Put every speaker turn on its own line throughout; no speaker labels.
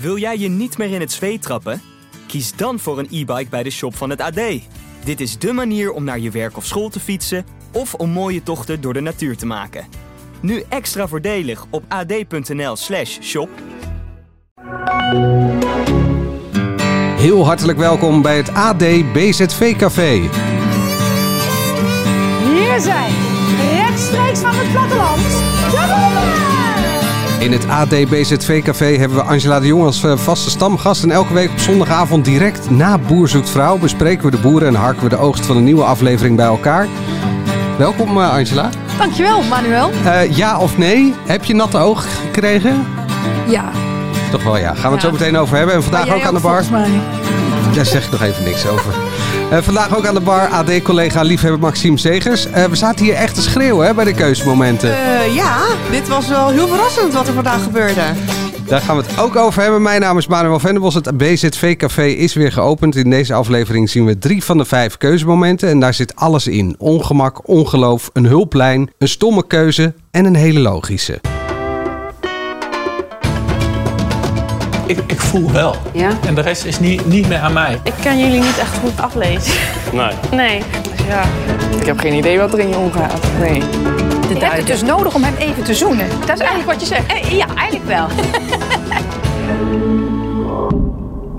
Wil jij je niet meer in het zweet trappen? Kies dan voor een e-bike bij de shop van het AD. Dit is dé manier om naar je werk of school te fietsen of om mooie tochten door de natuur te maken. Nu extra voordelig op ad.nl/slash shop.
Heel hartelijk welkom bij het AD BZV Café.
Hier zijn, rechtstreeks van het platteland, de boeren!
In het AD BZV Café hebben we Angela de Jong als eh, vaste stamgast. En elke week op zondagavond direct na Boer Zoekt Vrouw bespreken we de boeren en harken we de oogst van een nieuwe aflevering bij elkaar. Welkom eh, Angela.
Dankjewel, Manuel.
Eh, ja of nee, heb je natte oog gekregen?
Ja,
Toch wel ja, gaan we het
Ja.
zo meteen over hebben. En vandaag
jij
ook aan de bar.
volgens mij.
Daar zeg ik nog even niks over. Eh, vandaag ook aan de bar AD-collega liefhebber Maxime Zegers. Eh, we zaten hier echt te schreeuwen hè, bij de keuzemomenten.
Eh, ja, dit was wel heel verrassend wat er vandaag gebeurde.
Daar gaan we het ook over hebben. Mijn naam is Manuel Venderbos. Het BZV-café is weer geopend. In deze aflevering zien we drie van de vijf keuzemomenten. En daar zit alles in. Ongemak, ongeloof, een hulplijn, een stomme keuze en een hele logische.
Ik, ik voel wel.
Ja?
En de rest is niet, niet meer aan mij.
Ik kan jullie niet echt goed aflezen. Nee. Nee. Dus ja.
Ik heb geen idee wat er in je omgaat. Nee.
Je hebt het dus nodig om hem even te zoenen. Dat is eigenlijk wat je zegt. Eh, ja, eigenlijk wel.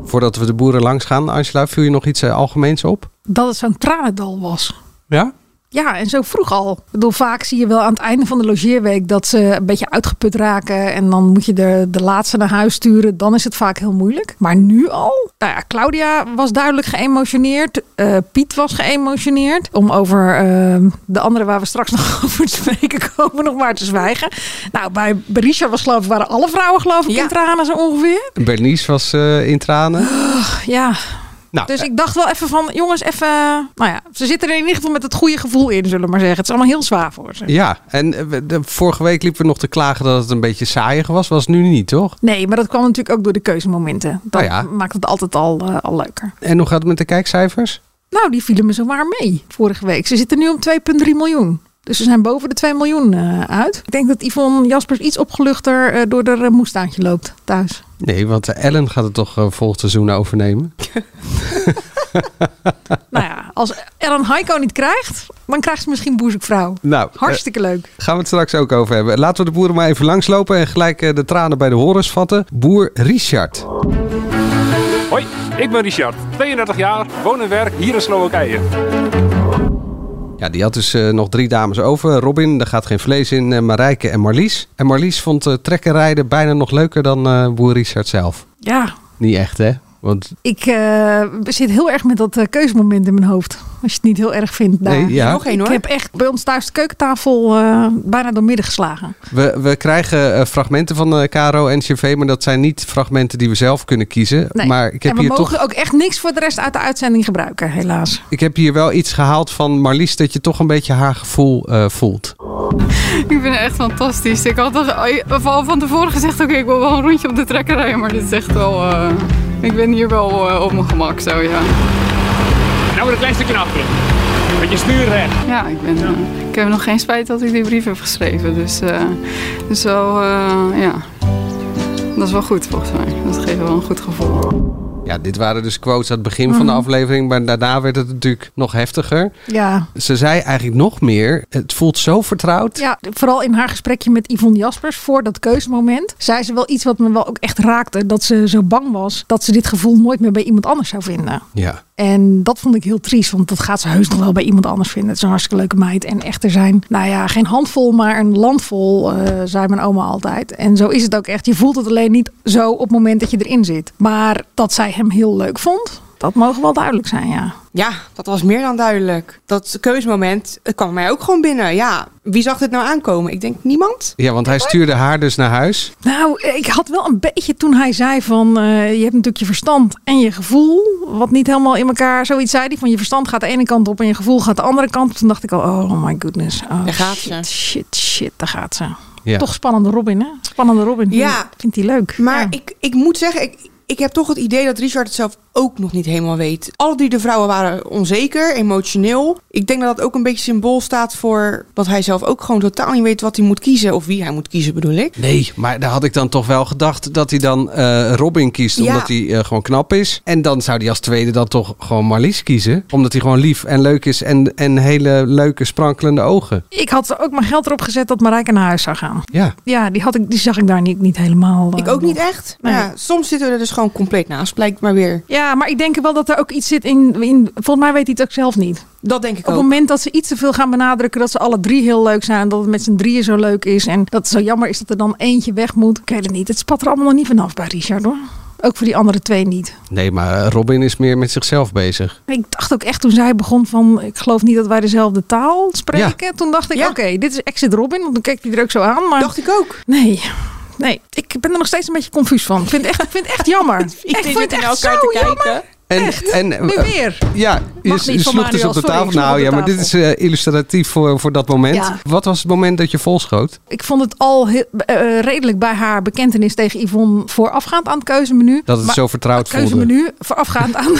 Voordat we de boeren langs gaan, Angela, viel je nog iets eh, algemeens op?
dat het zo'n tranendal was.
Ja?
Ja, en zo vroeg al. Ik bedoel, vaak zie je wel aan het einde van de logeerweek dat ze een beetje uitgeput raken. En dan moet je de, de laatste naar huis sturen. Dan is het vaak heel moeilijk. Maar nu al? Nou ja, Claudia was duidelijk geëmotioneerd. Eh, Piet was geëmotioneerd. Om over eh, de andere waar we straks nog over te spreken komen, nog maar te zwijgen. Nou, bij Berisha was geloof ik, waren alle vrouwen geloof ik
Ja.
in tranen zo ongeveer.
Bernice was eh, in tranen.
Ja,
Nou,
Dus
eh,
ik dacht wel even van, jongens, even... Nou ja, ze zitten er in ieder geval met het goede gevoel in, zullen we maar zeggen. Het is allemaal heel zwaar voor ze.
ja, en eh, we- de, vorige week liepen we nog te klagen dat het een beetje saaiig was. Was nu niet, toch?
Nee, maar dat kwam natuurlijk ook door de keuzemomenten. Dat
Oh ja.
maakt het altijd al, eh, al leuker.
En hoe gaat het met de kijkcijfers?
Nou, die vielen me zomaar mee vorige week. Ze zitten nu om 2,3 miljoen. Dus ze zijn boven de 2 miljoen eh, uit. Ik denk dat Yvonne Jaspers iets opgeluchter eh, door de eh, moestuintje loopt thuis.
Nee, want eh, Ellen gaat het toch eh, volgend seizoen overnemen?
nou ja, als Ellen Heiko niet krijgt, dan krijgt ze misschien boezekvrouw.
Nou, eh,
Hartstikke leuk.
Gaan we het straks ook over hebben. Laten we de boeren maar even langslopen en gelijk eh, de tranen bij de horens vatten. Boer Richard.
Hoi, ik ben Richard, 32 jaar, woon en werk hier in Slowakije.
Ja, die had dus eh, nog drie dames over. Robin, daar gaat geen vlees in. eh, Marijke en Marlies. En Marlies vond eh trekken rijden bijna nog leuker dan eh, boer Richard zelf.
Ja,
Niet echt, hè? Want
Ik eh, zit heel erg met dat eh, keuzemoment in mijn hoofd. Als je het niet heel erg vindt. Daar.
nee, ja.
Nog één hoor.
Ik heb echt bij ons thuis de keukentafel eh, bijna door midden geslagen.
we, we krijgen eh, fragmenten van eh KRO en CV, maar dat zijn niet fragmenten die we zelf kunnen kiezen.
Nee.
Maar ik heb,
en we
hier
mogen
toch,
ook echt niks voor de rest uit de uitzending gebruiken, helaas.
ik heb hier wel iets gehaald van Marlies, dat je toch een beetje haar gevoel eh, voelt.
Ik vind het echt fantastisch. Ik had al al van tevoren gezegd, oké, ik wil wel een rondje op de trekker rijden. Maar dit is echt wel... eh, ik ben hier wel eh, op mijn gemak, zo ja.
Nou weer een klein stukje naar achteren. Met je stuur recht.
Ja, ik, ben, eh, ik heb nog geen spijt dat ik die brief heb geschreven. Dus, eh, dus wel, eh, ja... Dat is wel goed volgens mij. Dat geeft wel een goed gevoel.
Ja, dit waren dus quotes aan het begin van
Mhm.
de aflevering, maar daarna werd het natuurlijk nog heftiger.
Ja.
Ze zei eigenlijk nog meer, het voelt zo vertrouwd.
ja, vooral in haar gesprekje met Yvonne Jaspers voor dat keuzemoment. zei ze wel iets wat me wel ook echt raakte. Dat ze zo bang was dat ze dit gevoel nooit meer bij iemand anders zou vinden.
Ja.
En dat vond ik heel triest, want dat gaat ze heus nog wel bij iemand anders vinden. Het is een hartstikke leuke meid. En echt, er zijn, nou ja, geen handvol, maar een landvol, eh, zei mijn oma altijd. En zo is het ook echt. Je voelt het alleen niet zo op het moment dat je erin zit. Maar dat zij hem heel leuk vond, dat mogen wel duidelijk zijn, ja.
Ja, dat was meer dan duidelijk. Dat keuzemoment het kwam mij ook gewoon binnen. Ja, wie zag dit nou aankomen? Ik denk niemand.
ja, want hij stuurde haar dus naar huis.
Nou, ik had wel een beetje toen hij zei van, eh, je hebt natuurlijk je verstand en je gevoel, wat niet helemaal in elkaar, zoiets zei hij van, je verstand gaat de ene kant op en je gevoel gaat de andere kant op. Toen dacht ik al, oh my goodness, oh,
Daar gaat
shit,
ze.
shit, shit, daar gaat ze.
Ja.
Toch spannende Robin, hè? Spannende Robin.
Ja.
Vindt hij leuk.
Maar
Ja.
ik, ik moet zeggen, ik, ik heb toch het idee dat Richard het zelf ook nog niet helemaal weet. Alle drie de vrouwen waren onzeker, emotioneel. Ik denk dat dat ook een beetje symbool staat voor dat hij zelf ook gewoon totaal niet weet wat hij moet kiezen. Of wie hij moet kiezen, bedoel ik.
Nee, maar daar had ik dan toch wel gedacht dat hij dan eh, Robin kiest,
Ja.
omdat hij eh, gewoon knap is. En dan zou hij als tweede dan toch gewoon Marlies kiezen, omdat hij gewoon lief en leuk is en, en hele leuke sprankelende ogen.
Ik had ook mijn geld erop gezet dat Marijke naar huis zou gaan.
Ja.
Ja, die, had ik, die zag ik daar niet, niet helemaal. eh,
Ik ook
nog.
niet echt.
Nee.
Ja, soms zitten we er dus gewoon compleet naast, blijkt maar weer.
Ja, maar ik denk wel dat er ook iets zit in. in volgens mij weet hij het ook zelf niet.
Dat denk ik
Op het
ook.
moment dat ze iets te veel gaan benadrukken dat ze alle drie heel leuk zijn. Dat het met z'n drieën zo leuk is. En dat het zo jammer is dat er dan eentje weg moet. Ik weet het niet. Het spat er allemaal nog niet vanaf bij Richard hoor. Ook voor die andere twee niet.
Nee, maar eh, Robin is meer met zichzelf bezig.
Ik dacht ook echt toen zij begon van... ik geloof niet dat wij dezelfde taal spreken. Toen dacht ik,
Ja.
oké, dit is Exit Robin. Want dan keek hij er ook zo aan. Maar
Dacht ik ook.
nee, nee. Ik ben er nog steeds een beetje confuus van. Ik vind het echt, ik vind het echt jammer. ik
zit
vind het
naar
echt zo
elkaar te
jammer.
kijken.
En, en
Nu
eh,
weer.
ja, je,
Mag
s- je
niet van
sloeg dus
Manuel,
op de
sorry,
tafel.
ik sloeg
Nou
op
ja,
de
maar dit is
tafel.
eh, illustratief voor, voor dat moment.
Ja.
Wat was het moment dat je volschoot?
Ik vond het al heel- eh, redelijk bij haar bekentenis tegen Yvonne voorafgaand aan het keuzemenu.
Dat het
Maar
zo vertrouwd
het
voelde.
keuzemenu voorafgaand aan,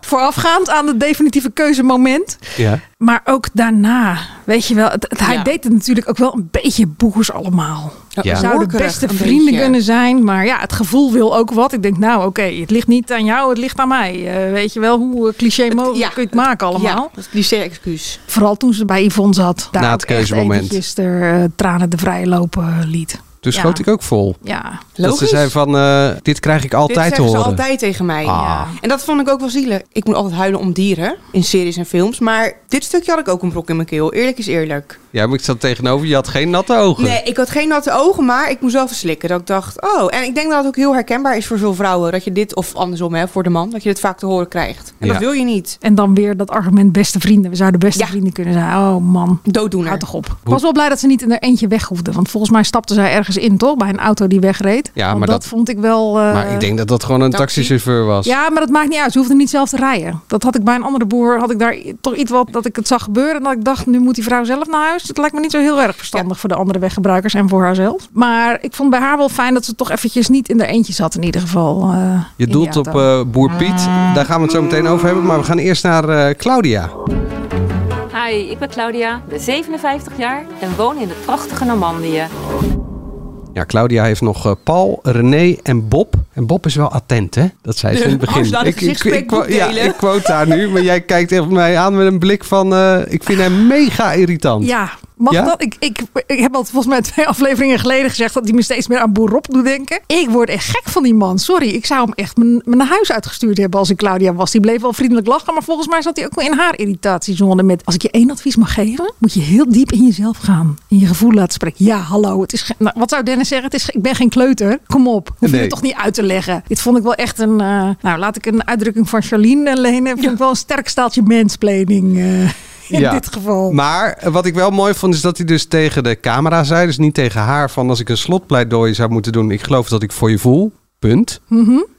voorafgaand aan het definitieve keuzemoment.
Ja.
Maar ook daarna, weet je wel, het, het- hij
Ja.
deed het natuurlijk ook wel een beetje boers allemaal.
Ja.
We zouden
Horkerig,
beste
een
vrienden
beetje.
kunnen zijn, maar ja, het gevoel wil ook wat. Ik denk, nou oké, het ligt niet aan jou, het ligt aan mij. Eh, weet je wel, hoe eh, cliché mogelijk
ja,
kun je het maken allemaal.
Ja, dat is cliché-excuus.
Vooral toen ze bij Yvonne zat. Daar
Na het
ook echt
keuzemoment.
eventjes er eh, tranen de vrije lopen liet.
Toen
Ja.
schoot ik ook vol.
Ja.
Logisch.
Dat ze zei van, eh, dit krijg ik
Dit
altijd te
zeggen
horen.
ze altijd tegen mij.
Ah.
En dat vond ik ook wel zielig. Ik moet altijd huilen om dieren in series en films. Maar dit stukje had ik ook een brok in mijn keel. Eerlijk is eerlijk.
Ja, maar ik zat tegenover, je had geen natte ogen.
Nee, ik had geen natte ogen, maar ik moest wel verslikken. Dat ik dacht, oh. En ik denk dat het ook heel herkenbaar is voor veel vrouwen. Dat je dit, of andersom hè, voor de man, dat je dit vaak te horen krijgt. En
Ja.
dat wil je niet.
En dan weer dat argument beste vrienden. We zouden beste
Ja.
vrienden kunnen zijn. Oh man,
Dooddoener.
houd toch op. Ik was wel blij dat ze niet in er eentje weg hoefde. Want volgens mij stapte zij ergens in, toch? Bij een auto die wegreed.
Ja,
Want
maar
dat,
dat-
vond ik wel... eh,
maar ik denk dat dat gewoon een
taxi?
taxichauffeur was.
Ja, maar dat maakt niet uit. Ze hoefde niet zelf te rijden. Dat had ik bij een andere boer, had ik daar i- toch iets wat dat ik het zag gebeuren. En dat ik dacht, nu moet die vrouw zelf naar huis. Dat lijkt me niet zo heel erg verstandig voor de andere weggebruikers en voor haarzelf. Maar ik vond bij haar wel fijn dat ze toch eventjes niet in haar eentje zat in ieder geval. eh,
Je
in
doelt
die
op
auto.
eh, boer Piet. Daar gaan we het zo meteen over hebben. Maar we gaan eerst naar eh, Claudia.
Hi, ik ben Claudia, ben 57 jaar en woon in het prachtige Normandië.
Ja, Claudia heeft nog eh, Paul, René en Bob. En Bob is wel attent, hè? Dat zei ze in het begin.
als je nou de gezichtsplek
qua-
moet
ja,
delen.
ik quote haar nu. Maar jij kijkt echt mij aan met een blik van... eh, ik vind hem mega irritant.
Ja, mag
Ja?
dat? Ik, ik, ik heb al volgens mij twee afleveringen geleden gezegd dat hij me steeds meer aan Boer Rob doet denken. Ik word echt gek van die man. Sorry, ik zou hem echt mijn, mijn huis uitgestuurd hebben als ik Claudia was. Die bleef wel vriendelijk lachen, maar volgens mij zat hij ook wel in haar irritatiezone met... Als ik je één advies mag geven, moet je heel diep in jezelf gaan. In je gevoel laten spreken. Ja, hallo, het is... ge- Nou, wat zou Dennis zeggen? Het is, ge- ik ben geen kleuter. Kom op, hoef je
Nee.
het toch niet uit te leggen. Dit vond ik wel echt een... eh, nou, laat ik een uitdrukking van Charlene eh, lenen. Vond ik wel een sterk staaltje mansplaining eh, in
Ja.
dit geval.
Maar eh, wat ik wel mooi vond is dat hij dus tegen de camera zei, dus niet tegen haar, van als ik een slotpleidooi zou moeten doen, ik geloof dat ik voor je voel. Punt.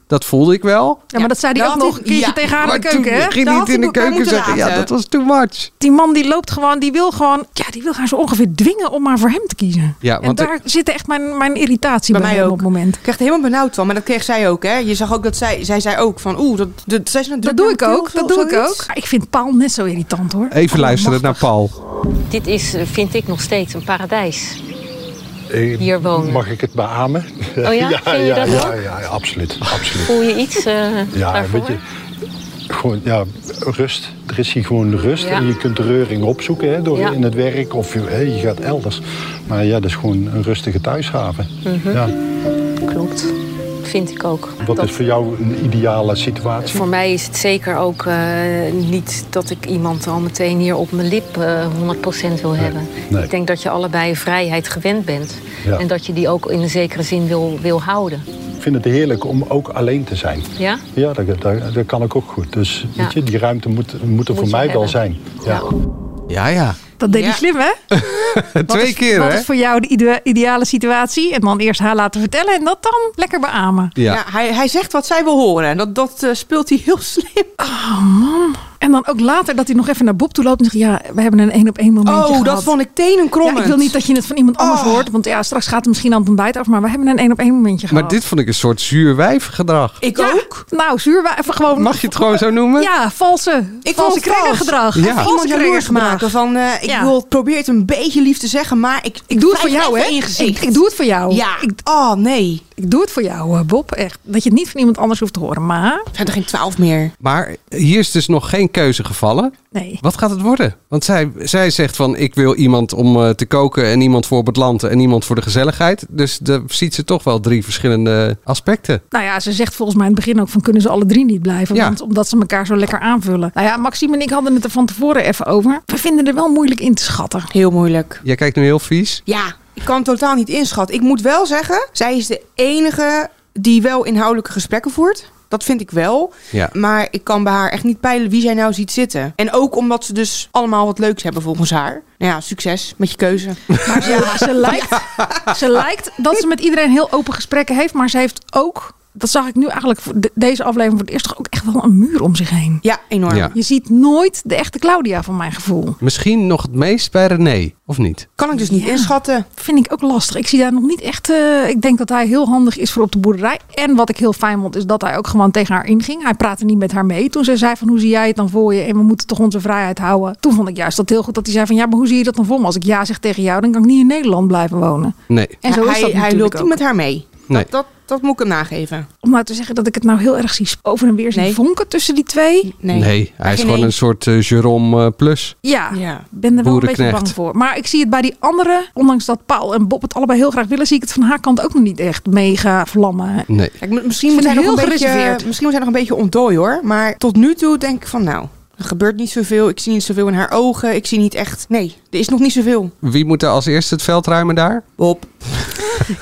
Dat voelde ik wel.
Ja, maar dat zei hij
Dat
ook
had
nog
hij-
een keertje
ja,
tegen haar
maar
in de keuken, hè?
toen ging
Daar
hij
had
het in
hij
de
elkaar
keuken
moeten
zeggen, ja,
laten.
dat was too much.
Die man die loopt gewoon, die wil gewoon, ja, die wil haar zo ongeveer dwingen om maar voor hem te kiezen.
Ja, want
en daar zit echt mijn, mijn irritatie bij,
Bij mij
hem
ook.
op het moment.
Ik kreeg er helemaal benauwd van, maar dat kreeg zij ook, hè? Je zag ook dat zij, zij zei ook van, oeh, dat, dat, zij is een
Dat
druk
doe
aan het tillen
ik ook,
of zo-
dat doe ik
zoiets.
ook. Maar Ik vind Paul net zo irritant hoor.
Even luisteren naar
Allemachtig.
Paul.
Dit is, eh, vind ik nog steeds, een paradijs. Hier wonen.
Mag ik het beamen?
Oh ja? Vind je
ja,
dat
ja,
ook?
ja, ja, absoluut. absoluut.
Voel je iets eh
Ja,
daarvoor?
weet je, gewoon, ja, rust. Er is hier gewoon rust.
Ja.
En je kunt de reuring opzoeken hè, door
Ja.
in het werk of je, hè, je gaat elders. Maar ja, dat is gewoon een rustige thuishaven. ja.
Klopt, vind ik ook.
Wat
Dat-
is voor jou een ideale situatie?
Voor mij is het zeker ook eh, niet dat ik iemand al meteen hier op mijn lip eh 100% wil hebben.
nee.
Ik denk dat je allebei vrijheid gewend bent.
Ja.
En dat je die ook in een zekere zin wil, wil houden.
Ik vind het heerlijk om ook alleen te zijn.
Ja?
Ja, dat, dat, dat kan ik ook goed. Dus
Ja.
weet je, die ruimte moet, moet er
Moet
voor
je
mij wel
hebben.
zijn. Ja.
Ja, ja.
Dat deed hij
Ja.
slim hè? Wat
Eh, Twee
is-
keer,
Wat
hè?
is voor jou de ide- ideale situatie? En dan eerst haar laten vertellen en dat dan lekker beamen.
Ja.
Ja, hij, hij zegt wat zij wil horen en dat, dat eh, speelt hij heel slim.
En dan ook later dat hij nog even naar Bob toe loopt en zegt... ja, we hebben een één op één momentje
Oh, dat
gehad.
vond ik Oh. tenenkrommend.
Ja, ik wil niet dat je het van iemand anders hoort. Want ja, straks gaat het misschien aan het ontbijt af. Maar we hebben een één op één momentje
Maar
gehad.
dit vond ik een soort zuur wijfgedrag.
Ik
ook. Nou, zuur. wa- Even gewoon...
Mag je het gewoon zo noemen?
Ja, valse.
Ik vond
valse
het vals.
krengengedrag.
Ja.
Valse
Iemand jaloers
krengengedrag.
maken van, eh, ik
Ja.
wil, probeer het een beetje lief te zeggen, maar ik, ik,
Ik doe het voor
wrijf
jou,
even
hè?
In je gezicht.
Ik, ik doe het voor jou.
Ja.
Ik,
oh, nee.
ik doe het voor jou, eh, Bob. Echt. Dat je het niet van iemand anders hoeft te horen. Maar...
Zijn er geen twaalf meer?
Maar hier is dus nog geen keuze gevallen.
Nee.
Wat gaat het worden? Want zij, zij zegt van ik wil iemand om eh, te koken en iemand voor op het land en iemand voor de gezelligheid. Dus daar ziet ze toch wel drie verschillende aspecten.
Nou ja, ze zegt volgens mij in het begin ook van kunnen ze alle drie niet blijven.
Ja.
Want omdat ze elkaar zo lekker aanvullen. Nou ja, Maxime en ik hadden het er van tevoren even over. We vinden er wel moeilijk in te schatten.
Heel moeilijk.
Jij kijkt nu heel vies.
Ja, ik kan het totaal niet inschatten. Ik moet wel zeggen, zij is de enige die wel inhoudelijke gesprekken voert. Dat vind ik wel.
Ja.
Maar ik kan bij haar echt niet peilen wie zij nou ziet zitten. En ook omdat ze dus allemaal wat leuks hebben volgens haar. Nou ja, succes met je keuze.
Maar ze, ze, lijkt, ze lijkt dat ze met iedereen heel open gesprekken heeft. Maar ze heeft ook, dat zag ik nu eigenlijk voor de- deze aflevering voor het eerst, toch ook echt wel een muur om zich heen.
Ja, enorm.
Ja.
Je ziet nooit de echte Claudia van mijn gevoel.
Misschien nog het meest bij René, of niet?
Kan ik dus niet
Ja.
inschatten.
Vind ik ook lastig. Ik zie daar nog niet echt. eh, ik denk dat hij heel handig is voor op de boerderij. En wat ik heel fijn vond, is dat hij ook gewoon tegen haar inging. Hij praatte niet met haar mee. Toen ze zei van hoe zie jij het dan voor je? En we moeten toch onze vrijheid houden. Toen vond ik juist dat heel goed dat hij zei van ja, maar hoe zie je dat dan voor me? Als ik ja zeg tegen jou, dan kan ik niet in Nederland blijven wonen.
Nee.
En zo
hij,
is dat
hij
natuurlijk
loopt niet
ook.
met haar mee.
Nee.
Dat, dat moet ik hem nageven.
Om nou te zeggen dat ik het nou heel erg zie over en weer zie
Nee.
vonken tussen die twee.
Nee,
hij is
geen
gewoon
nee.
een soort eh, Jerome eh, Plus.
Ja,
Ja.
ik ben er wel een beetje
Boerenknecht.
bang voor. Maar ik zie het bij die andere, ondanks dat Paul en Bob het allebei heel graag willen, zie ik het van haar kant ook nog niet echt mega vlammen.
Nee.
Kijk, m- misschien,
Ik
moet
vind
hij
het
nog een
heel
beetje,
gereserveerd.
misschien moet hij nog een beetje ontdooien hoor. Maar tot nu toe denk ik van nou, er gebeurt niet zoveel. Ik zie niet zoveel in haar ogen. Ik zie niet echt... Nee, er is nog niet zoveel.
Wie moet er als eerste het veld ruimen daar?
Bob.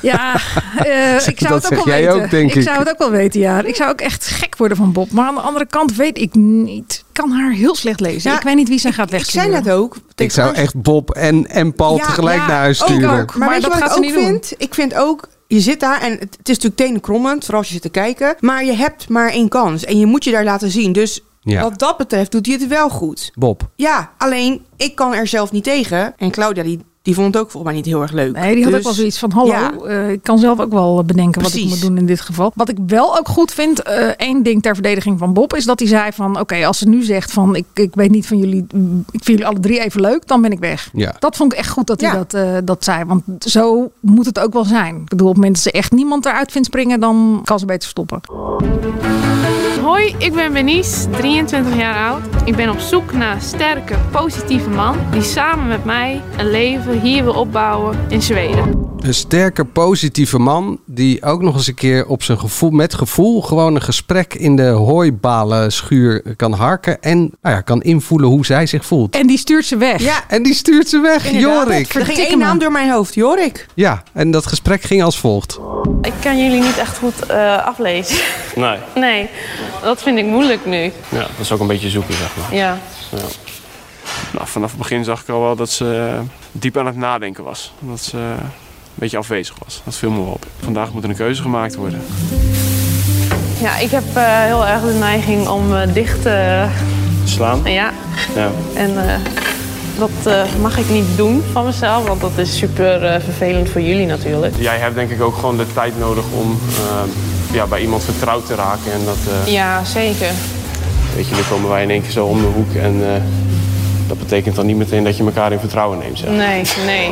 Ja, eh, ik
Dat
zou het ook
zeg
wel
jij
weten.
ook, denk ik.
zou het ook wel weten, ja. Ik zou ook echt gek worden van Bob. Maar aan de andere kant weet ik niet. Ik kan haar heel slecht lezen.
Ja,
ik weet niet wie zij gaat
Ik zei
wegsturen.
net ook.
Ik zou echt Bob en, en Paul
Ja,
tegelijk
ja,
naar huis
ook,
sturen.
ook.
Maar,
Maar
weet
dat
je wat
gaat
ik
ze
ook
niet doen.
vind? Ik vind ook, je zit daar en het, het is natuurlijk tenenkrommend, vooral als je zit te kijken. Maar je hebt maar één kans en je moet je daar laten zien. Dus
Ja.
wat dat betreft doet hij het wel goed.
Bob.
Ja, alleen ik kan er zelf niet tegen. En Claudia, die, die vond het ook volgens mij niet heel erg leuk.
Nee, die had
Dus-
ook wel zoiets van, hallo,
Ja.
eh, ik kan zelf ook wel eh, bedenken wat ik
Precies.
moet doen in dit geval. Wat ik wel ook goed vind, eh één ding ter verdediging van Bob, is dat hij zei van, oké, als ze nu zegt van, ik, ik weet niet van jullie, mm, ik vind jullie alle drie even leuk, dan ben ik weg.
Ja.
Dat vond ik echt goed dat hij
Ja.
dat, eh, dat zei, want zo moet het ook wel zijn. Ik bedoel, op het moment dat ze echt niemand eruit vindt springen, dan kan ze beter stoppen.
Hoi, ik ben Benice, 23 jaar oud. Ik ben op zoek naar een sterke, positieve man die samen met mij een leven hier wil opbouwen in Zweden.
Een sterke, positieve man die ook nog eens een keer op zijn gevoel, met gevoel gewoon een gesprek in de hooibalen schuur kan harken. En nou ja, kan invoelen hoe zij zich voelt.
En die stuurt ze weg.
Ja,
En die stuurt ze weg,
inderdaad.
Jorik.
Er ging
Verdikke
één
me.
naam door mijn hoofd, Jorik.
Ja, en dat gesprek ging als volgt.
Ik kan jullie niet echt goed eh, aflezen.
Nee,
Nee, dat vind ik moeilijk nu.
ja, dat is ook een beetje zoeken, zeg maar.
Ja.
Ja. Nou, vanaf het begin zag ik al wel dat ze eh, diep aan het nadenken was. Dat ze eh, een beetje afwezig was. Dat viel me wel op. Vandaag moet er een keuze gemaakt worden.
Ja, ik heb eh, heel erg de neiging om eh, dicht te...
Slaan?
ja,
Ja.
en eh, dat eh, mag ik niet doen van mezelf, want dat is super eh, vervelend voor jullie natuurlijk.
Jij hebt denk ik ook gewoon de tijd nodig om eh, ja, bij iemand vertrouwd te raken. En dat, eh,
Ja, zeker.
weet je, dan komen wij in één keer zo om de hoek. En eh, dat betekent dan niet meteen dat je elkaar in vertrouwen neemt, zeg.
Nee, nee.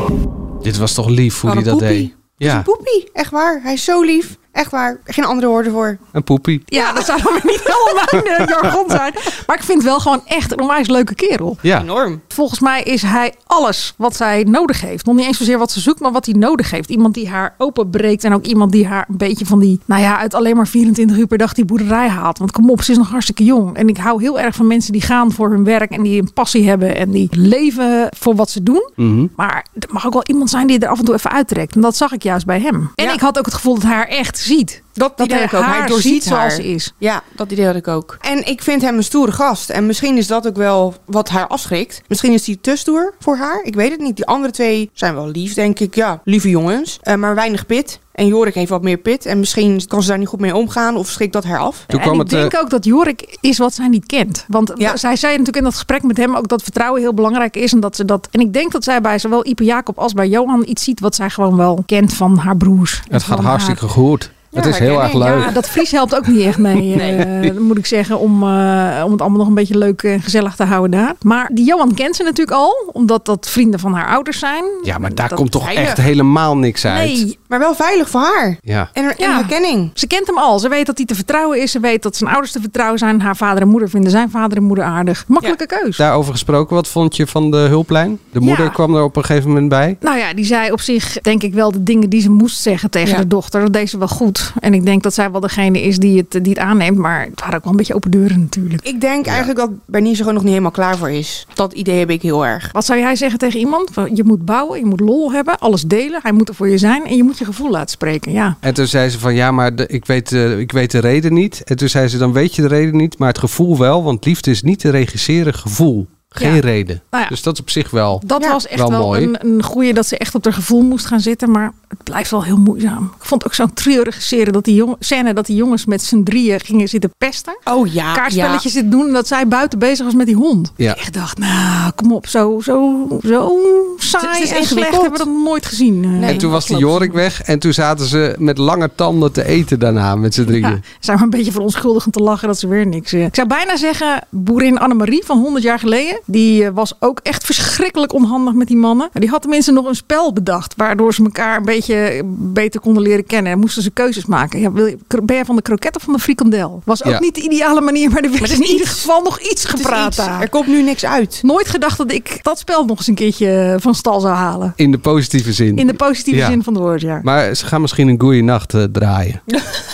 Dit was toch lief hoe
Wat
hij
een
dat
poepie.
deed. Ja,
Poepie, echt waar. Hij is zo lief. Echt waar. Geen andere woorden voor.
een poepie.
Ja, dat zou dan weer niet helemaal mijn eh, jargon zijn. Maar ik vind het wel gewoon echt een onwijs leuke kerel.
Ja,
Enorm.
Volgens mij is hij alles wat zij nodig heeft. Nog niet eens zozeer wat ze zoekt, maar wat hij nodig heeft. Iemand die haar openbreekt en ook iemand die haar een beetje van die... Nou ja, uit alleen maar 24 uur per dag die boerderij haalt. Want kom op, ze is nog hartstikke jong. En ik hou heel erg van mensen die gaan voor hun werk en die een passie hebben. En die leven voor wat ze doen.
Mhm.
Maar er mag ook wel iemand zijn die er af en toe even uittrekt. En dat zag ik juist bij hem. En
Ja.
ik had ook het gevoel dat hij haar echt ziet.
Dat,
Dat
idee
hij
had ik ook.
haar
Hij doorziet
ziet zoals
haar.
ze is.
Ja, dat idee had ik ook. En ik vind hem een stoere gast. En misschien is dat ook wel wat haar afschrikt. Misschien is hij te stoer voor haar. Ik weet het niet. Die andere twee zijn wel lief, denk ik. Ja, lieve jongens. Eh, maar weinig pit. En Jorik heeft wat meer pit. En misschien kan ze daar niet goed mee omgaan. Of schrikt dat haar af.
Toen eh,
en ik denk ook dat Jorik is wat zij niet kent. Want zij zei natuurlijk in dat gesprek met hem ook dat vertrouwen heel belangrijk is. En, dat ze dat, en ik denk dat zij bij zowel Ipe Jacob als bij Johan iets ziet wat zij gewoon wel kent van haar broers.
Het gaat hartstikke goed. het is heel erg leuk.
Ja, dat Fries helpt ook niet echt mee, eh, moet ik zeggen, om, eh, om het allemaal nog een beetje leuk en gezellig te houden daar. Maar die Johan kent ze natuurlijk al, omdat dat vrienden van haar ouders zijn.
Ja, maar daar
Dat
komt toch
veilig.
echt helemaal niks uit.
Nee,
maar wel veilig voor haar.
Ja.
En, herkenning.
Ze kent hem al. Ze weet dat hij te vertrouwen is. Ze weet dat zijn ouders te vertrouwen zijn. Haar vader en moeder vinden zijn vader en moeder aardig. Makkelijke keus.
Daarover gesproken, wat vond je van de hulplijn? De moeder kwam er op een gegeven moment bij.
Nou ja, die zei op zich denk ik wel de dingen die ze moest zeggen tegen
Ja.
de dochter. Dat deed ze wel goed. En ik denk dat zij wel degene is die het, die het aanneemt. Maar het waren ook wel een beetje open deuren natuurlijk.
Ik denk eigenlijk dat Bernice gewoon nog niet helemaal klaar voor is. Dat idee heb ik heel erg.
Wat zou jij zeggen tegen iemand? Van, Je moet bouwen, je moet lol hebben, alles delen. Hij moet er voor je zijn en je moet je gevoel laten spreken. Ja.
En toen zei ze van ja, maar de- ik, weet, eh, ik weet de reden niet. En toen zei ze dan weet je de reden niet, maar het gevoel wel. Want liefde is niet te regisseren gevoel. Geen
Ja.
reden.
Nou ja.
Dus dat is op zich wel
Dat was echt wel,
mooi.
een, een goeie dat ze echt op haar gevoel moest gaan zitten. Maar het blijft wel heel moeizaam. Ik vond ook zo'n treurige serie dat die jong, scène dat die jongens met z'n drieën gingen zitten pesten.
Oh ja.
Kaartspelletjes zitten doen en dat zij buiten bezig was met die hond.
Ja.
Ik echt dacht, nou kom op, zo, zo, zo saai
Het is
en slecht
ingewikkeld.
hebben we dat nooit gezien. eh. Nee.
en toen was die Jorik weg en toen zaten ze met lange tanden te eten daarna met z'n drieën.
Ja, zijn we een beetje verontschuldigend te lachen dat ze weer niks. eh. Ik zou bijna zeggen, boerin Annemarie van 100 jaar geleden. Die eh, was ook echt verschrikkelijk onhandig met die mannen. Maar Die had tenminste nog een spel bedacht. Waardoor ze elkaar een beetje eh, beter konden leren kennen. En moesten ze keuzes maken. Ja, wil je, kro- ben jij van de kroket of van de frikandel? Was ook
Ja.
niet de ideale manier. Maar er werd
Maar het
in
is
ieder
iets.
geval nog
is
iets gepraat
iets.
daar.
Er komt nu niks uit.
Nooit gedacht dat ik dat spel nog eens een keertje eh, van stal zou halen.
In de positieve zin.
In de positieve
Ja.
zin van het woord, ja.
Maar ze gaan misschien een goeie nacht eh, draaien.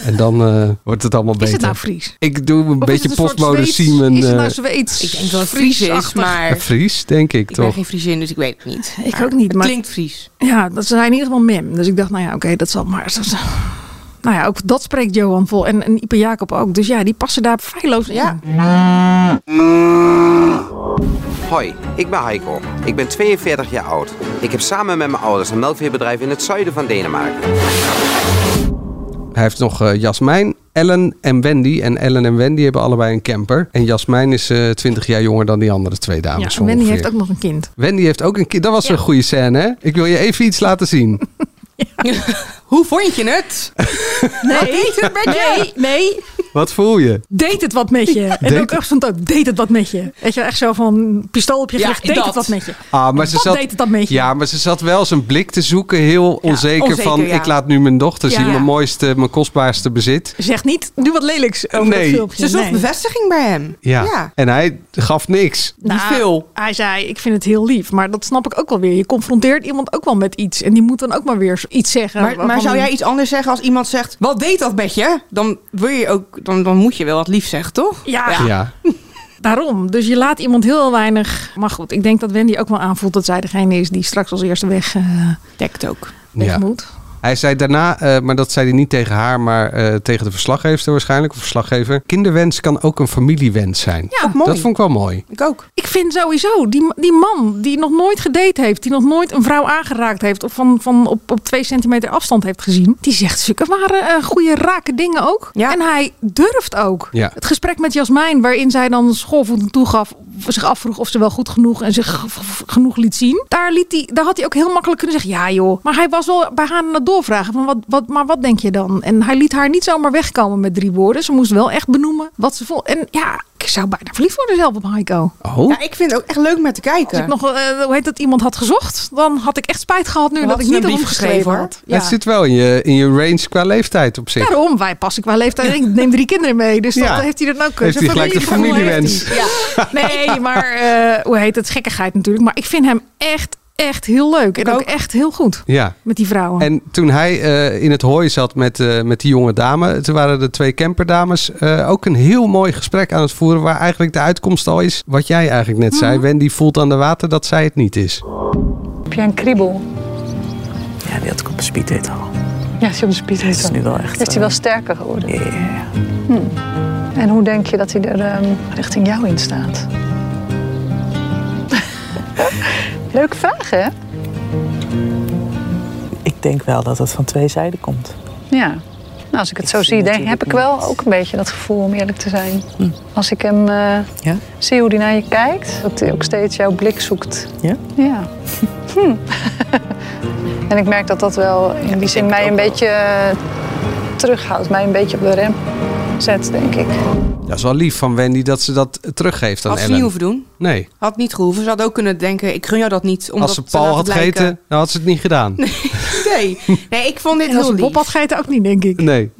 en dan eh, wordt het allemaal beter.
Is het nou Fries?
Ik doe een
Of is
beetje
het een soort
postmode
Zweeds?
Simon.
Is het nou
eh,
Zweeds?
Ik denk dat het Fries is,
Friesachtig.
maar...
ja, Fries, denk ik,
Ik ben
toch?
geen Friesin, dus ik weet het niet.
Ik ook niet,
het
maar-
klinkt Fries.
Ja, dat zijn in ieder geval mem. Dus ik dacht, nou ja, oké, dat zal maar. dat zal- nou ja, ook dat spreekt Johan vol. En, en Ipe Jacob ook. Dus ja, die passen daar feilloos in. Ja.
Hoi, ik ben Heiko. Ik ben 42 jaar oud. Ik heb samen met mijn ouders een melkveebedrijf in het zuiden van Denemarken.
Hij heeft nog eh, Jasmijn, Ellen en Wendy. En Ellen en Wendy hebben allebei een camper. En Jasmijn is eh 20 jaar jonger dan die andere twee
Ja,
dames.
en Wendy
ongeveer.
heeft ook nog een kind.
Wendy heeft ook een kind. Dat was een goede scène, hè? Ik wil je even iets laten zien.
Hoe vond je het?
Nee, nee, nee.
Wat voel je?
Deed het wat met je. En
Deed
ook echt van dat, deed het wat met je. Weet je, echt zo van pistool op je
Ja,
gericht, deed
dat.
het wat met je.
Ah, maar ze
Wat
zat,
deed het dan met je?
Ja, maar ze zat wel zijn blik te zoeken. Heel onzeker,
onzeker,
van,
ja.
ik laat nu mijn dochter
Ja.
zien.
Ja.
Mijn mooiste, mijn kostbaarste bezit.
Zeg niet, doe wat lelijks over
Nee.
dat filmpje.
Ze zocht
Nee.
bevestiging bij hem.
Ja. En hij gaf niks.
Nou, Hij zei, ik vind het heel lief. Maar dat snap ik ook wel weer. Je confronteert iemand ook wel met iets. En die moet dan ook maar weer iets zeggen.
Maar, maar
waarvan-
zou jij iets anders zeggen als iemand zegt... Wat deed dat met je? Dan, wil je ook, dan, dan moet je wel wat lief zeggen, toch?
Ja. Daarom. Dus je laat iemand heel weinig. Maar goed, ik denk dat Wendy ook wel aanvoelt dat zij degene is die straks als eerste weg. eh
Dekt ook.
Weg
Ja.
moet.
Hij zei daarna, eh, maar dat zei hij niet tegen haar, maar eh, tegen de verslaggever waarschijnlijk, of verslaggever. Kinderwens kan ook een familiewens zijn.
Ja. Ook mooi.
Dat vond ik wel mooi.
Ik ook.
Ik vind sowieso die, die man die nog nooit gedate heeft. Die nog nooit een vrouw aangeraakt heeft. Of van, van op, op twee centimeter afstand heeft gezien. Die zegt zulke waren goede rake dingen ook. En hij durft ook.
Ja.
Het gesprek met Jasmijn waarin zij dan schoolvoetend toegaf. Zich afvroeg of ze wel goed genoeg en zich g- g- genoeg liet zien. Daar, liet hij, daar had hij ook heel makkelijk kunnen zeggen. Ja joh. Maar hij was wel bij haar aan het doorvragen. Van wat, wat, maar wat denk je dan? En hij liet haar niet zomaar wegkomen met drie woorden. Ze moest wel echt benoemen wat ze vond. En ja, ik zou bijna verliefd worden zelf op Heiko.
Oh.
Ja, ik vind het ook echt leuk met te kijken.
Als ik nog, eh, hoe heet dat, iemand had gezocht, dan had ik echt spijt gehad nu
Dan
dat
had
ik
ze
niet
een
op hem
brief
geschreven
geschreven,
had.
Het zit wel in je, in je range qua leeftijd op zich.
Daarom, wij pas ik wel leeftijd. Ik neem drie kinderen mee, dus dat
Ja.
heeft hij dan ook.
Heeft
zijn
hij gelijk de
familiegevoel
familiewens.
heeft hij. Nee, maar eh, hoe heet het? Gekkigheid natuurlijk. Maar ik vind hem echt, echt heel leuk. En ook, echt heel goed
Ja.
met die vrouwen.
En toen hij eh, in het hooi zat met, eh, met die jonge dame, toen waren de twee camperdames eh, ook een heel mooi gesprek aan het voeren. Waar eigenlijk de uitkomst al is wat jij eigenlijk net zei.
Mhm.
Wendy voelt aan de water dat zij het niet is.
Heb jij een kriebel?
Ja, die had ik op de speed al.
Ja, John Speed heet
is
dat.
nu wel echt,
Is hij
eh,
wel sterker geworden? Ja. En hoe denk je dat hij er ehm, richting jou in staat? Leuke vraag, hè?
Ik denk wel dat het van twee zijden komt.
Ja. Nou, als ik het zo zie, denk, heb ik wel ook een beetje dat gevoel om eerlijk te zijn. Als ik hem eh,
Ja?
zie hoe hij naar je kijkt, dat hij ook steeds jouw blik zoekt.
Ja?
Ja. Hm. en ik merk dat dat wel in die zin mij een beetje eh, terughoudt, mij een beetje op de rem zet, denk ik.
Dat is wel lief van Wendy dat ze dat teruggeeft aan
Had ze
Ellen.
niet hoeven doen.
Nee.
Had niet gehoeven. Ze had ook kunnen denken, ik gun jou dat niet. Omdat
Als ze Paul had gegeten, dan had ze het niet gedaan. Nee.
Nee. nee, ik vond dit
En als
heel
ze Bob
lief.
had gegeten ook niet, denk ik. Nee.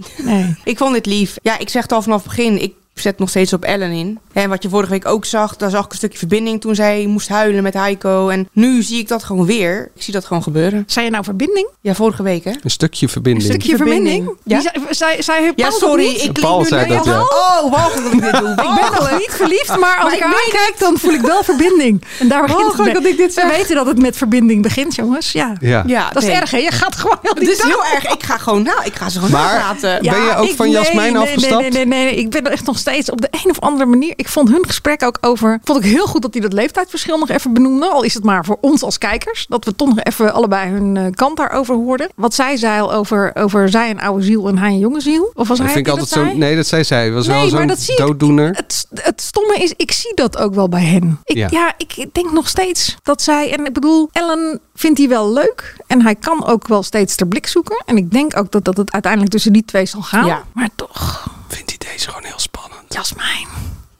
Ik vond dit lief. Ja, ik zeg het al vanaf het begin. Ik zet nog steeds op Ellen in. En wat je vorige week ook zag, daar zag ik een stukje verbinding toen zij moest huilen met Heiko. En nu zie ik dat gewoon weer. Ik zie dat gewoon gebeuren.
Zei je nou verbinding?
Ja, vorige week hè?
Een stukje verbinding.
Een stukje verbinding?
Ja.
Die zei- Zij, zij heeft
Ja,
Paul
sorry,
nog niet.
ik
Paul
klink nu
zei
naar
dat,
jou.
ja.
Oh, wacht dat ik dit doe.
Ik ben nog niet verliefd, maar als ik haar aankijk, dan voel ik wel verbinding. En daar begint het
goed
mee.
Oh, dat ik dit
We weten dat het met verbinding begint, jongens. Ja.
Ja.
Ja,
dat is
nee.
erg, hè? Je gaat gewoon heel
Het is heel erg. Ik ga gewoon, nou, ik ga ze gewoon
Maar
napraten.
ben je ook
ik-
van Jasmijn
nee,
afgestapt?
Nee, nee, nee, nee. Ik ben er echt nog steeds op de een of andere manier. Ik vond hun gesprek ook over. Vond ik heel goed dat hij dat leeftijdsverschil nog even benoemde. Al is het maar voor ons als kijkers. Dat we toch nog even allebei hun eh, kant daarover hoorden. Wat zij zei al over, over zij een oude ziel en hij een jonge ziel. Of was
Dat
hij
vind ik
die
altijd
dat
zo.
zei?
Nee, dat zei zij. Was
Nee,
wel
maar
zo'n
dat zie ik.
dooddoener.
Het, het stomme is, ik zie dat ook wel bij hen. Ik,
Ja.
ja. ik denk nog steeds dat zij. En ik bedoel, Ellen vindt die wel leuk. En hij kan ook wel steeds ter blik zoeken. En ik denk ook dat dat het uiteindelijk tussen die twee zal gaan.
Ja.
Maar toch,
Vindt hij deze gewoon heel spannend?
Jasmijn.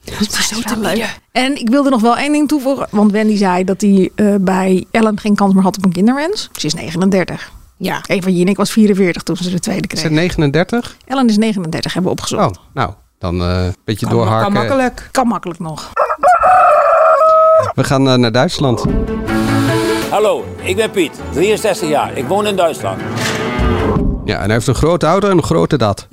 Jasmijn is wel leuk. En ik wilde nog wel één ding toevoegen. Want Wendy zei dat hij eh, bij Ellen geen kans meer had op een kinderwens. Ze is 39.
Ja.
Eva Jinek was 44 toen ze de tweede
Is
kreeg.
het 39?
Ellen is 39, hebben we opgezocht.
Oh, nou. Dan eh, een beetje
Kan
doorharken.
makkelijk. Kan makkelijk nog.
We gaan eh, naar Duitsland.
Hallo, ik ben Piet, 63 jaar. Ik woon in Duitsland.
Ja, en hij heeft een grote auto en een grote dat.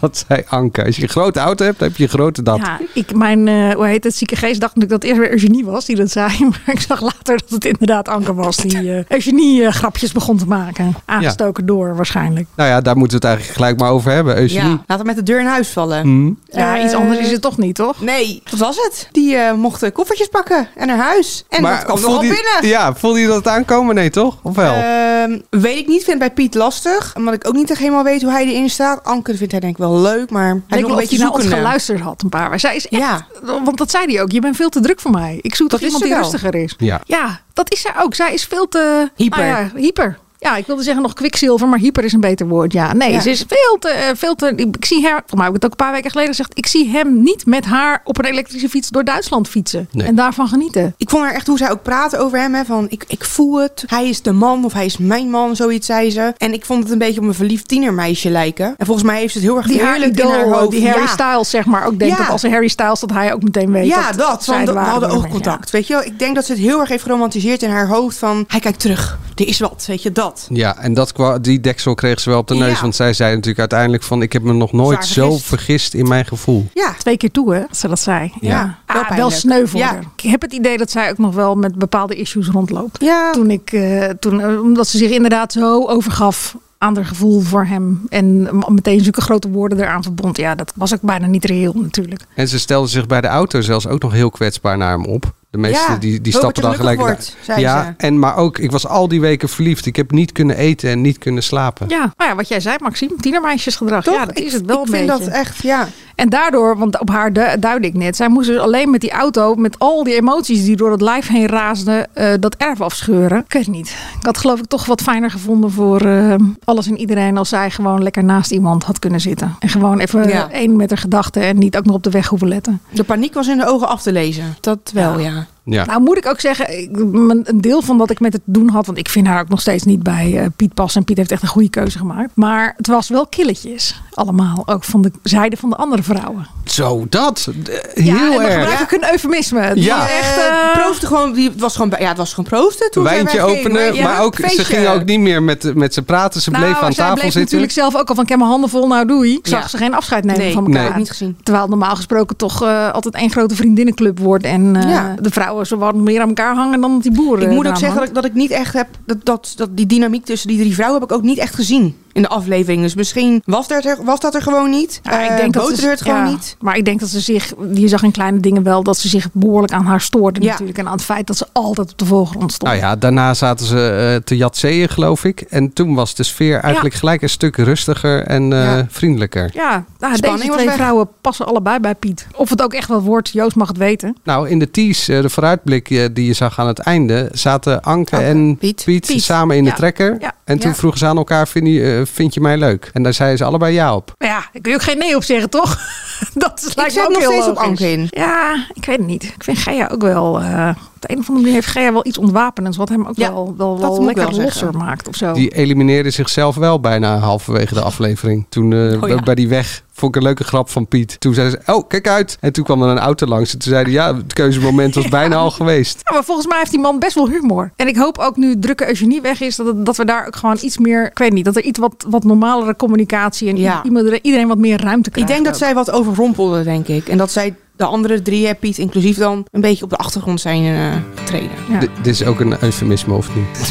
dat zei Anke. Als je een grote auto hebt, dan heb je een grote dat.
Ja, ik, mijn, eh, hoe heet het, zieke geest dacht natuurlijk dat het eerst weer Eugenie was die dat zei. Maar ik zag later dat het inderdaad Anker was die eh, Eugenie eh, grapjes begon te maken. Aangestoken door waarschijnlijk.
Nou ja, daar moeten we het eigenlijk gelijk maar over hebben. Eugenie.
Ja, laat hem met de deur in huis vallen.
Hm.
Ja, iets anders is het toch niet, toch?
Nee, dat was het. Die eh, mochten koffertjes pakken en naar huis. En dat kwam
voelde
nogal
je-
binnen.
Ja, voelde je dat aankomen? Nee, toch? Of wel?
Ehm, weet ik niet, vind bij Piet lastig. Omdat ik ook niet echt helemaal weet hoe hij erin staat. Anke vindt hij denk ik wel leuk, maar hij is
Ik
nog een
wil dat
beetje
je naar ons
zoekende.
geluisterd had een paar. Maar zij is echt,
Ja.
want dat zei hij ook, je bent veel te druk voor mij. Ik zoek toch
is
iemand
ze
die
wel.
rustiger is.
Ja.
Ja, dat is zij ook. Zij is veel te...
Hyper.
nou ja, hyper. Ja, ik wilde zeggen nog kwikzilver, maar hyper is een beter woord. Ja, nee,
Ja.
ze is veel te, eh, veel te... Ik, ik zie haar, voor mij heb ik het ook een paar weken geleden gezegd... ik zie hem niet met haar op een elektrische fiets door Duitsland fietsen.
Nee.
En daarvan genieten.
Ik vond haar echt hoe zij ook praatte over hem. Hè, van ik, ik voel het. Hij is de man of hij is mijn man, zoiets zei ze. En ik vond het een beetje op een verliefd tienermeisje lijken. En volgens mij heeft ze het heel erg
Die haar
heerlijk in haar
idool,
hoofd.
die Harry
Ja.
Styles zeg maar ook denkt
Ja.
dat als een Harry Styles... dat hij ook meteen weet
Ja,
dat,
dat.
zij
Want
de
we
ware
hadden
nummer is. Ja.
oogcontact. Weet je wel, ik denk dat ze het heel erg heeft geromantiseerd in haar hoofd. Van hij kijkt terug. Er is wat. Weet je dat?
Ja, en dat, kwa- die deksel kreeg ze wel op de neus.
Ja.
Want zij zei natuurlijk uiteindelijk van... ik heb me nog nooit
Zwaar
zo
vergist.
vergist in mijn gevoel.
Ja.
Twee keer toe, hè, dat ze dat zei.
Ja. Ja,
Ah,
wel
wel,
pijnlijk.
sneu voor
Ja.
haar. Ik heb het idee dat zij ook nog wel met bepaalde issues rondloopt.
Ja.
Toen ik, eh, toen, eh, omdat ze zich inderdaad zo overgaf aan haar gevoel voor hem. En meteen zulke grote woorden eraan verbond. Ja, dat was ook bijna niet reëel natuurlijk.
En ze stelde zich bij de auto zelfs ook nog heel kwetsbaar naar hem op. De meesten
Ja,
die, die
hoop
stappen dan
dat je
gelijk
gelukkig wordt, zei
ja,
ze.
en maar ook, ik was al die weken verliefd. Ik heb niet kunnen eten en niet kunnen slapen.
Ja, maar ja, wat jij zei Maxime, tienermeisjesgedrag.
Toch?
Ja, dat
Ik-
is het wel
ik
een
vind
beetje.
dat echt, ja.
En daardoor, want op haar du- duidde ik net, zij moest dus alleen met die auto, met al die emoties die door het lijf heen raasden, eh, dat erf afscheuren. Ik weet het niet. Ik had geloof ik toch wat fijner gevonden voor eh, alles en iedereen als zij gewoon lekker naast iemand had kunnen zitten. En gewoon even
Ja.
eh, één met haar gedachten en niet ook nog op de weg hoeven letten.
De paniek was in de ogen af te lezen. Dat wel, ja.
Ja.
Nou moet ik ook zeggen, ik- mijn- een deel van wat ik met het doen had, want ik vind haar ook nog steeds niet bij eh, Piet pas. En Piet heeft echt een goede keuze gemaakt. Maar het was wel killetjes allemaal, ook van de zijde van de andere vrouwen.
Zo, dat. De-
Ja, en
Heel
dan
erg.
gebruik ik een eufemisme. Het
Ja.
ja. echt...
Eh, proefde gewoon, die was gewoon, ja, het was gewoon proosten toen zij
Wijntje
weggingen.
openen,
Ja,
maar ook, ze
feestje.
gingen ook niet meer met, met ze praten. Ze bleven
nou,
aan
zij
tafel
bleef
zitten.
natuurlijk zelf ook al van ik heb mijn handen vol, nou doei. Ik zag
Ja.
ze geen afscheid nemen
Nee,
van elkaar.
nee. heb ik niet
gezien.
Terwijl het normaal gesproken toch eh, altijd één grote vriendinnenclub wordt. En eh,
Ja.
de vrouwen zo wat meer aan elkaar hangen dan dat die boeren.
Ik moet ook
eraan
zeggen dat
hangen.
ik, dat ik niet echt heb. Dat, dat, dat die dynamiek tussen die drie vrouwen heb ik ook niet echt gezien in de aflevering. Dus misschien was dat er, was dat er gewoon niet.
Ja, ik
Eh,
denk dat
boterde
ze,
het gewoon
ja,
niet.
Maar ik denk dat ze zich, je zag in kleine dingen wel, dat ze zich behoorlijk aan haar stoorde
Ja.
natuurlijk. En aan het feit dat ze altijd op de voorgrond stond.
Nou ja, daarna zaten ze eh, te jatseeën, geloof ik. En toen was de sfeer eigenlijk gelijk een stuk rustiger en eh,
Ja.
vriendelijker.
Ja, nou,
Spanning
deze
was
twee
weg.
vrouwen passen allebei bij Piet. Of het ook echt wel wordt, Joost mag het weten.
Nou, in de tease, eh, de vooruitblik eh, die je zag aan het einde, zaten Anke en Piet,
Piet.
samen in
Ja.
de trekker.
Ja.
En toen
Ja.
vroegen ze aan elkaar, vind je, eh, vind je mij leuk? En daar zeiden ze allebei ja op.
Maar ja, daar kun je ook geen nee op zeggen, toch? Dat is, lijkt me
zet
ook
nog
heel
steeds op
logisch.
Anke in.
Ja, ik weet het niet. Ik vind Gea ook wel... eh, op de een of andere manier heeft Gea wel iets ontwapenends... wat hem ook
Ja,
wel, wel,
dat
wel
moet ik
lekker
wel
losser
zeggen.
maakt of zo.
Die elimineerde zichzelf wel bijna halverwege de aflevering. Toen eh,
Oh ja.
bij die weg vond ik een leuke grap van Piet. Toen zei ze, oh, kijk uit. En toen kwam er een auto langs. En toen zeiden ja, het keuzemoment was bijna al geweest.
Ja, maar volgens mij heeft die man best wel humor. En ik hoop ook nu drukke Eugenie weg is... dat, het- dat we daar ook gewoon iets meer... Ik weet niet, dat er iets wat, wat normalere communicatie... en
Ja.
iemand- iedereen wat meer ruimte
Ik
krijgt.
denk dat
ook.
zij wat overrompelde, denk ik. En dat zij de andere drie, hè, Piet inclusief dan, een beetje op de achtergrond zijn eh, getreden.
D- Dit is ook een eufemisme, of niet?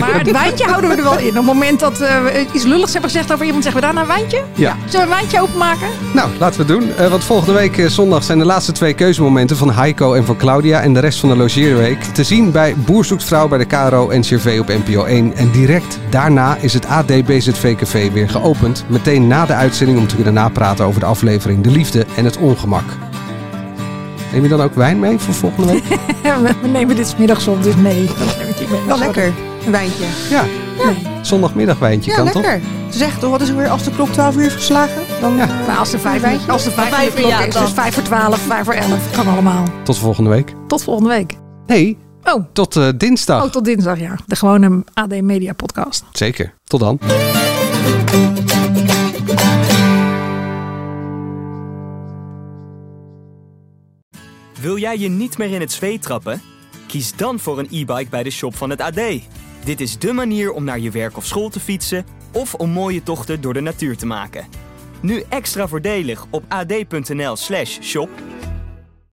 Maar het wijntje houden we er wel in. Op het moment dat eh, we iets lulligs hebben gezegd over iemand... zeggen we daarna een wijntje?
Ja.
Zullen we een wijntje openmaken?
Nou, laten we het doen. Eh want volgende week eh, zondag zijn de laatste twee keuzemomenten van Heiko en van Claudia. En de rest van de logeerweek te zien bij Boer Zoekt Vrouw bij de KRO en CRV op NPO 1. En direct daarna is het AD BZVKV weer geopend. Meteen na de uitzending om te kunnen napraten over de aflevering De Liefde en het Ongemak. Neem je dan ook wijn mee voor volgende week?
we we nemen dit 's middags op, dus nee. Dat neem ik niet mee.
Wel lekker, een wijntje.
Ja, zondagmiddagwijntje
Ja,
kan toch?
lekker. Ze zegt toch, wat is er weer als de klok 12 uur is geslagen? Dan, eh,
Maar als de vijf,
een wijntje.
als de vijf,
Vijf
uur de klok
uur, ja,
is, dus
dan.
vijf voor twaalf, vijf voor elf. Kan allemaal.
Tot volgende week.
Tot volgende week.
Nee,
Oh,
tot eh, dinsdag.
oh tot dinsdag, ja. De gewone AD Media podcast.
Zeker. Tot dan.
Wil jij je niet meer in het zweet trappen? Kies dan voor een e-bike bij de shop van het AD. Dit is dé manier om naar je werk of school te fietsen of om mooie tochten door de natuur te maken. Nu extra voordelig op ad.nl/shop.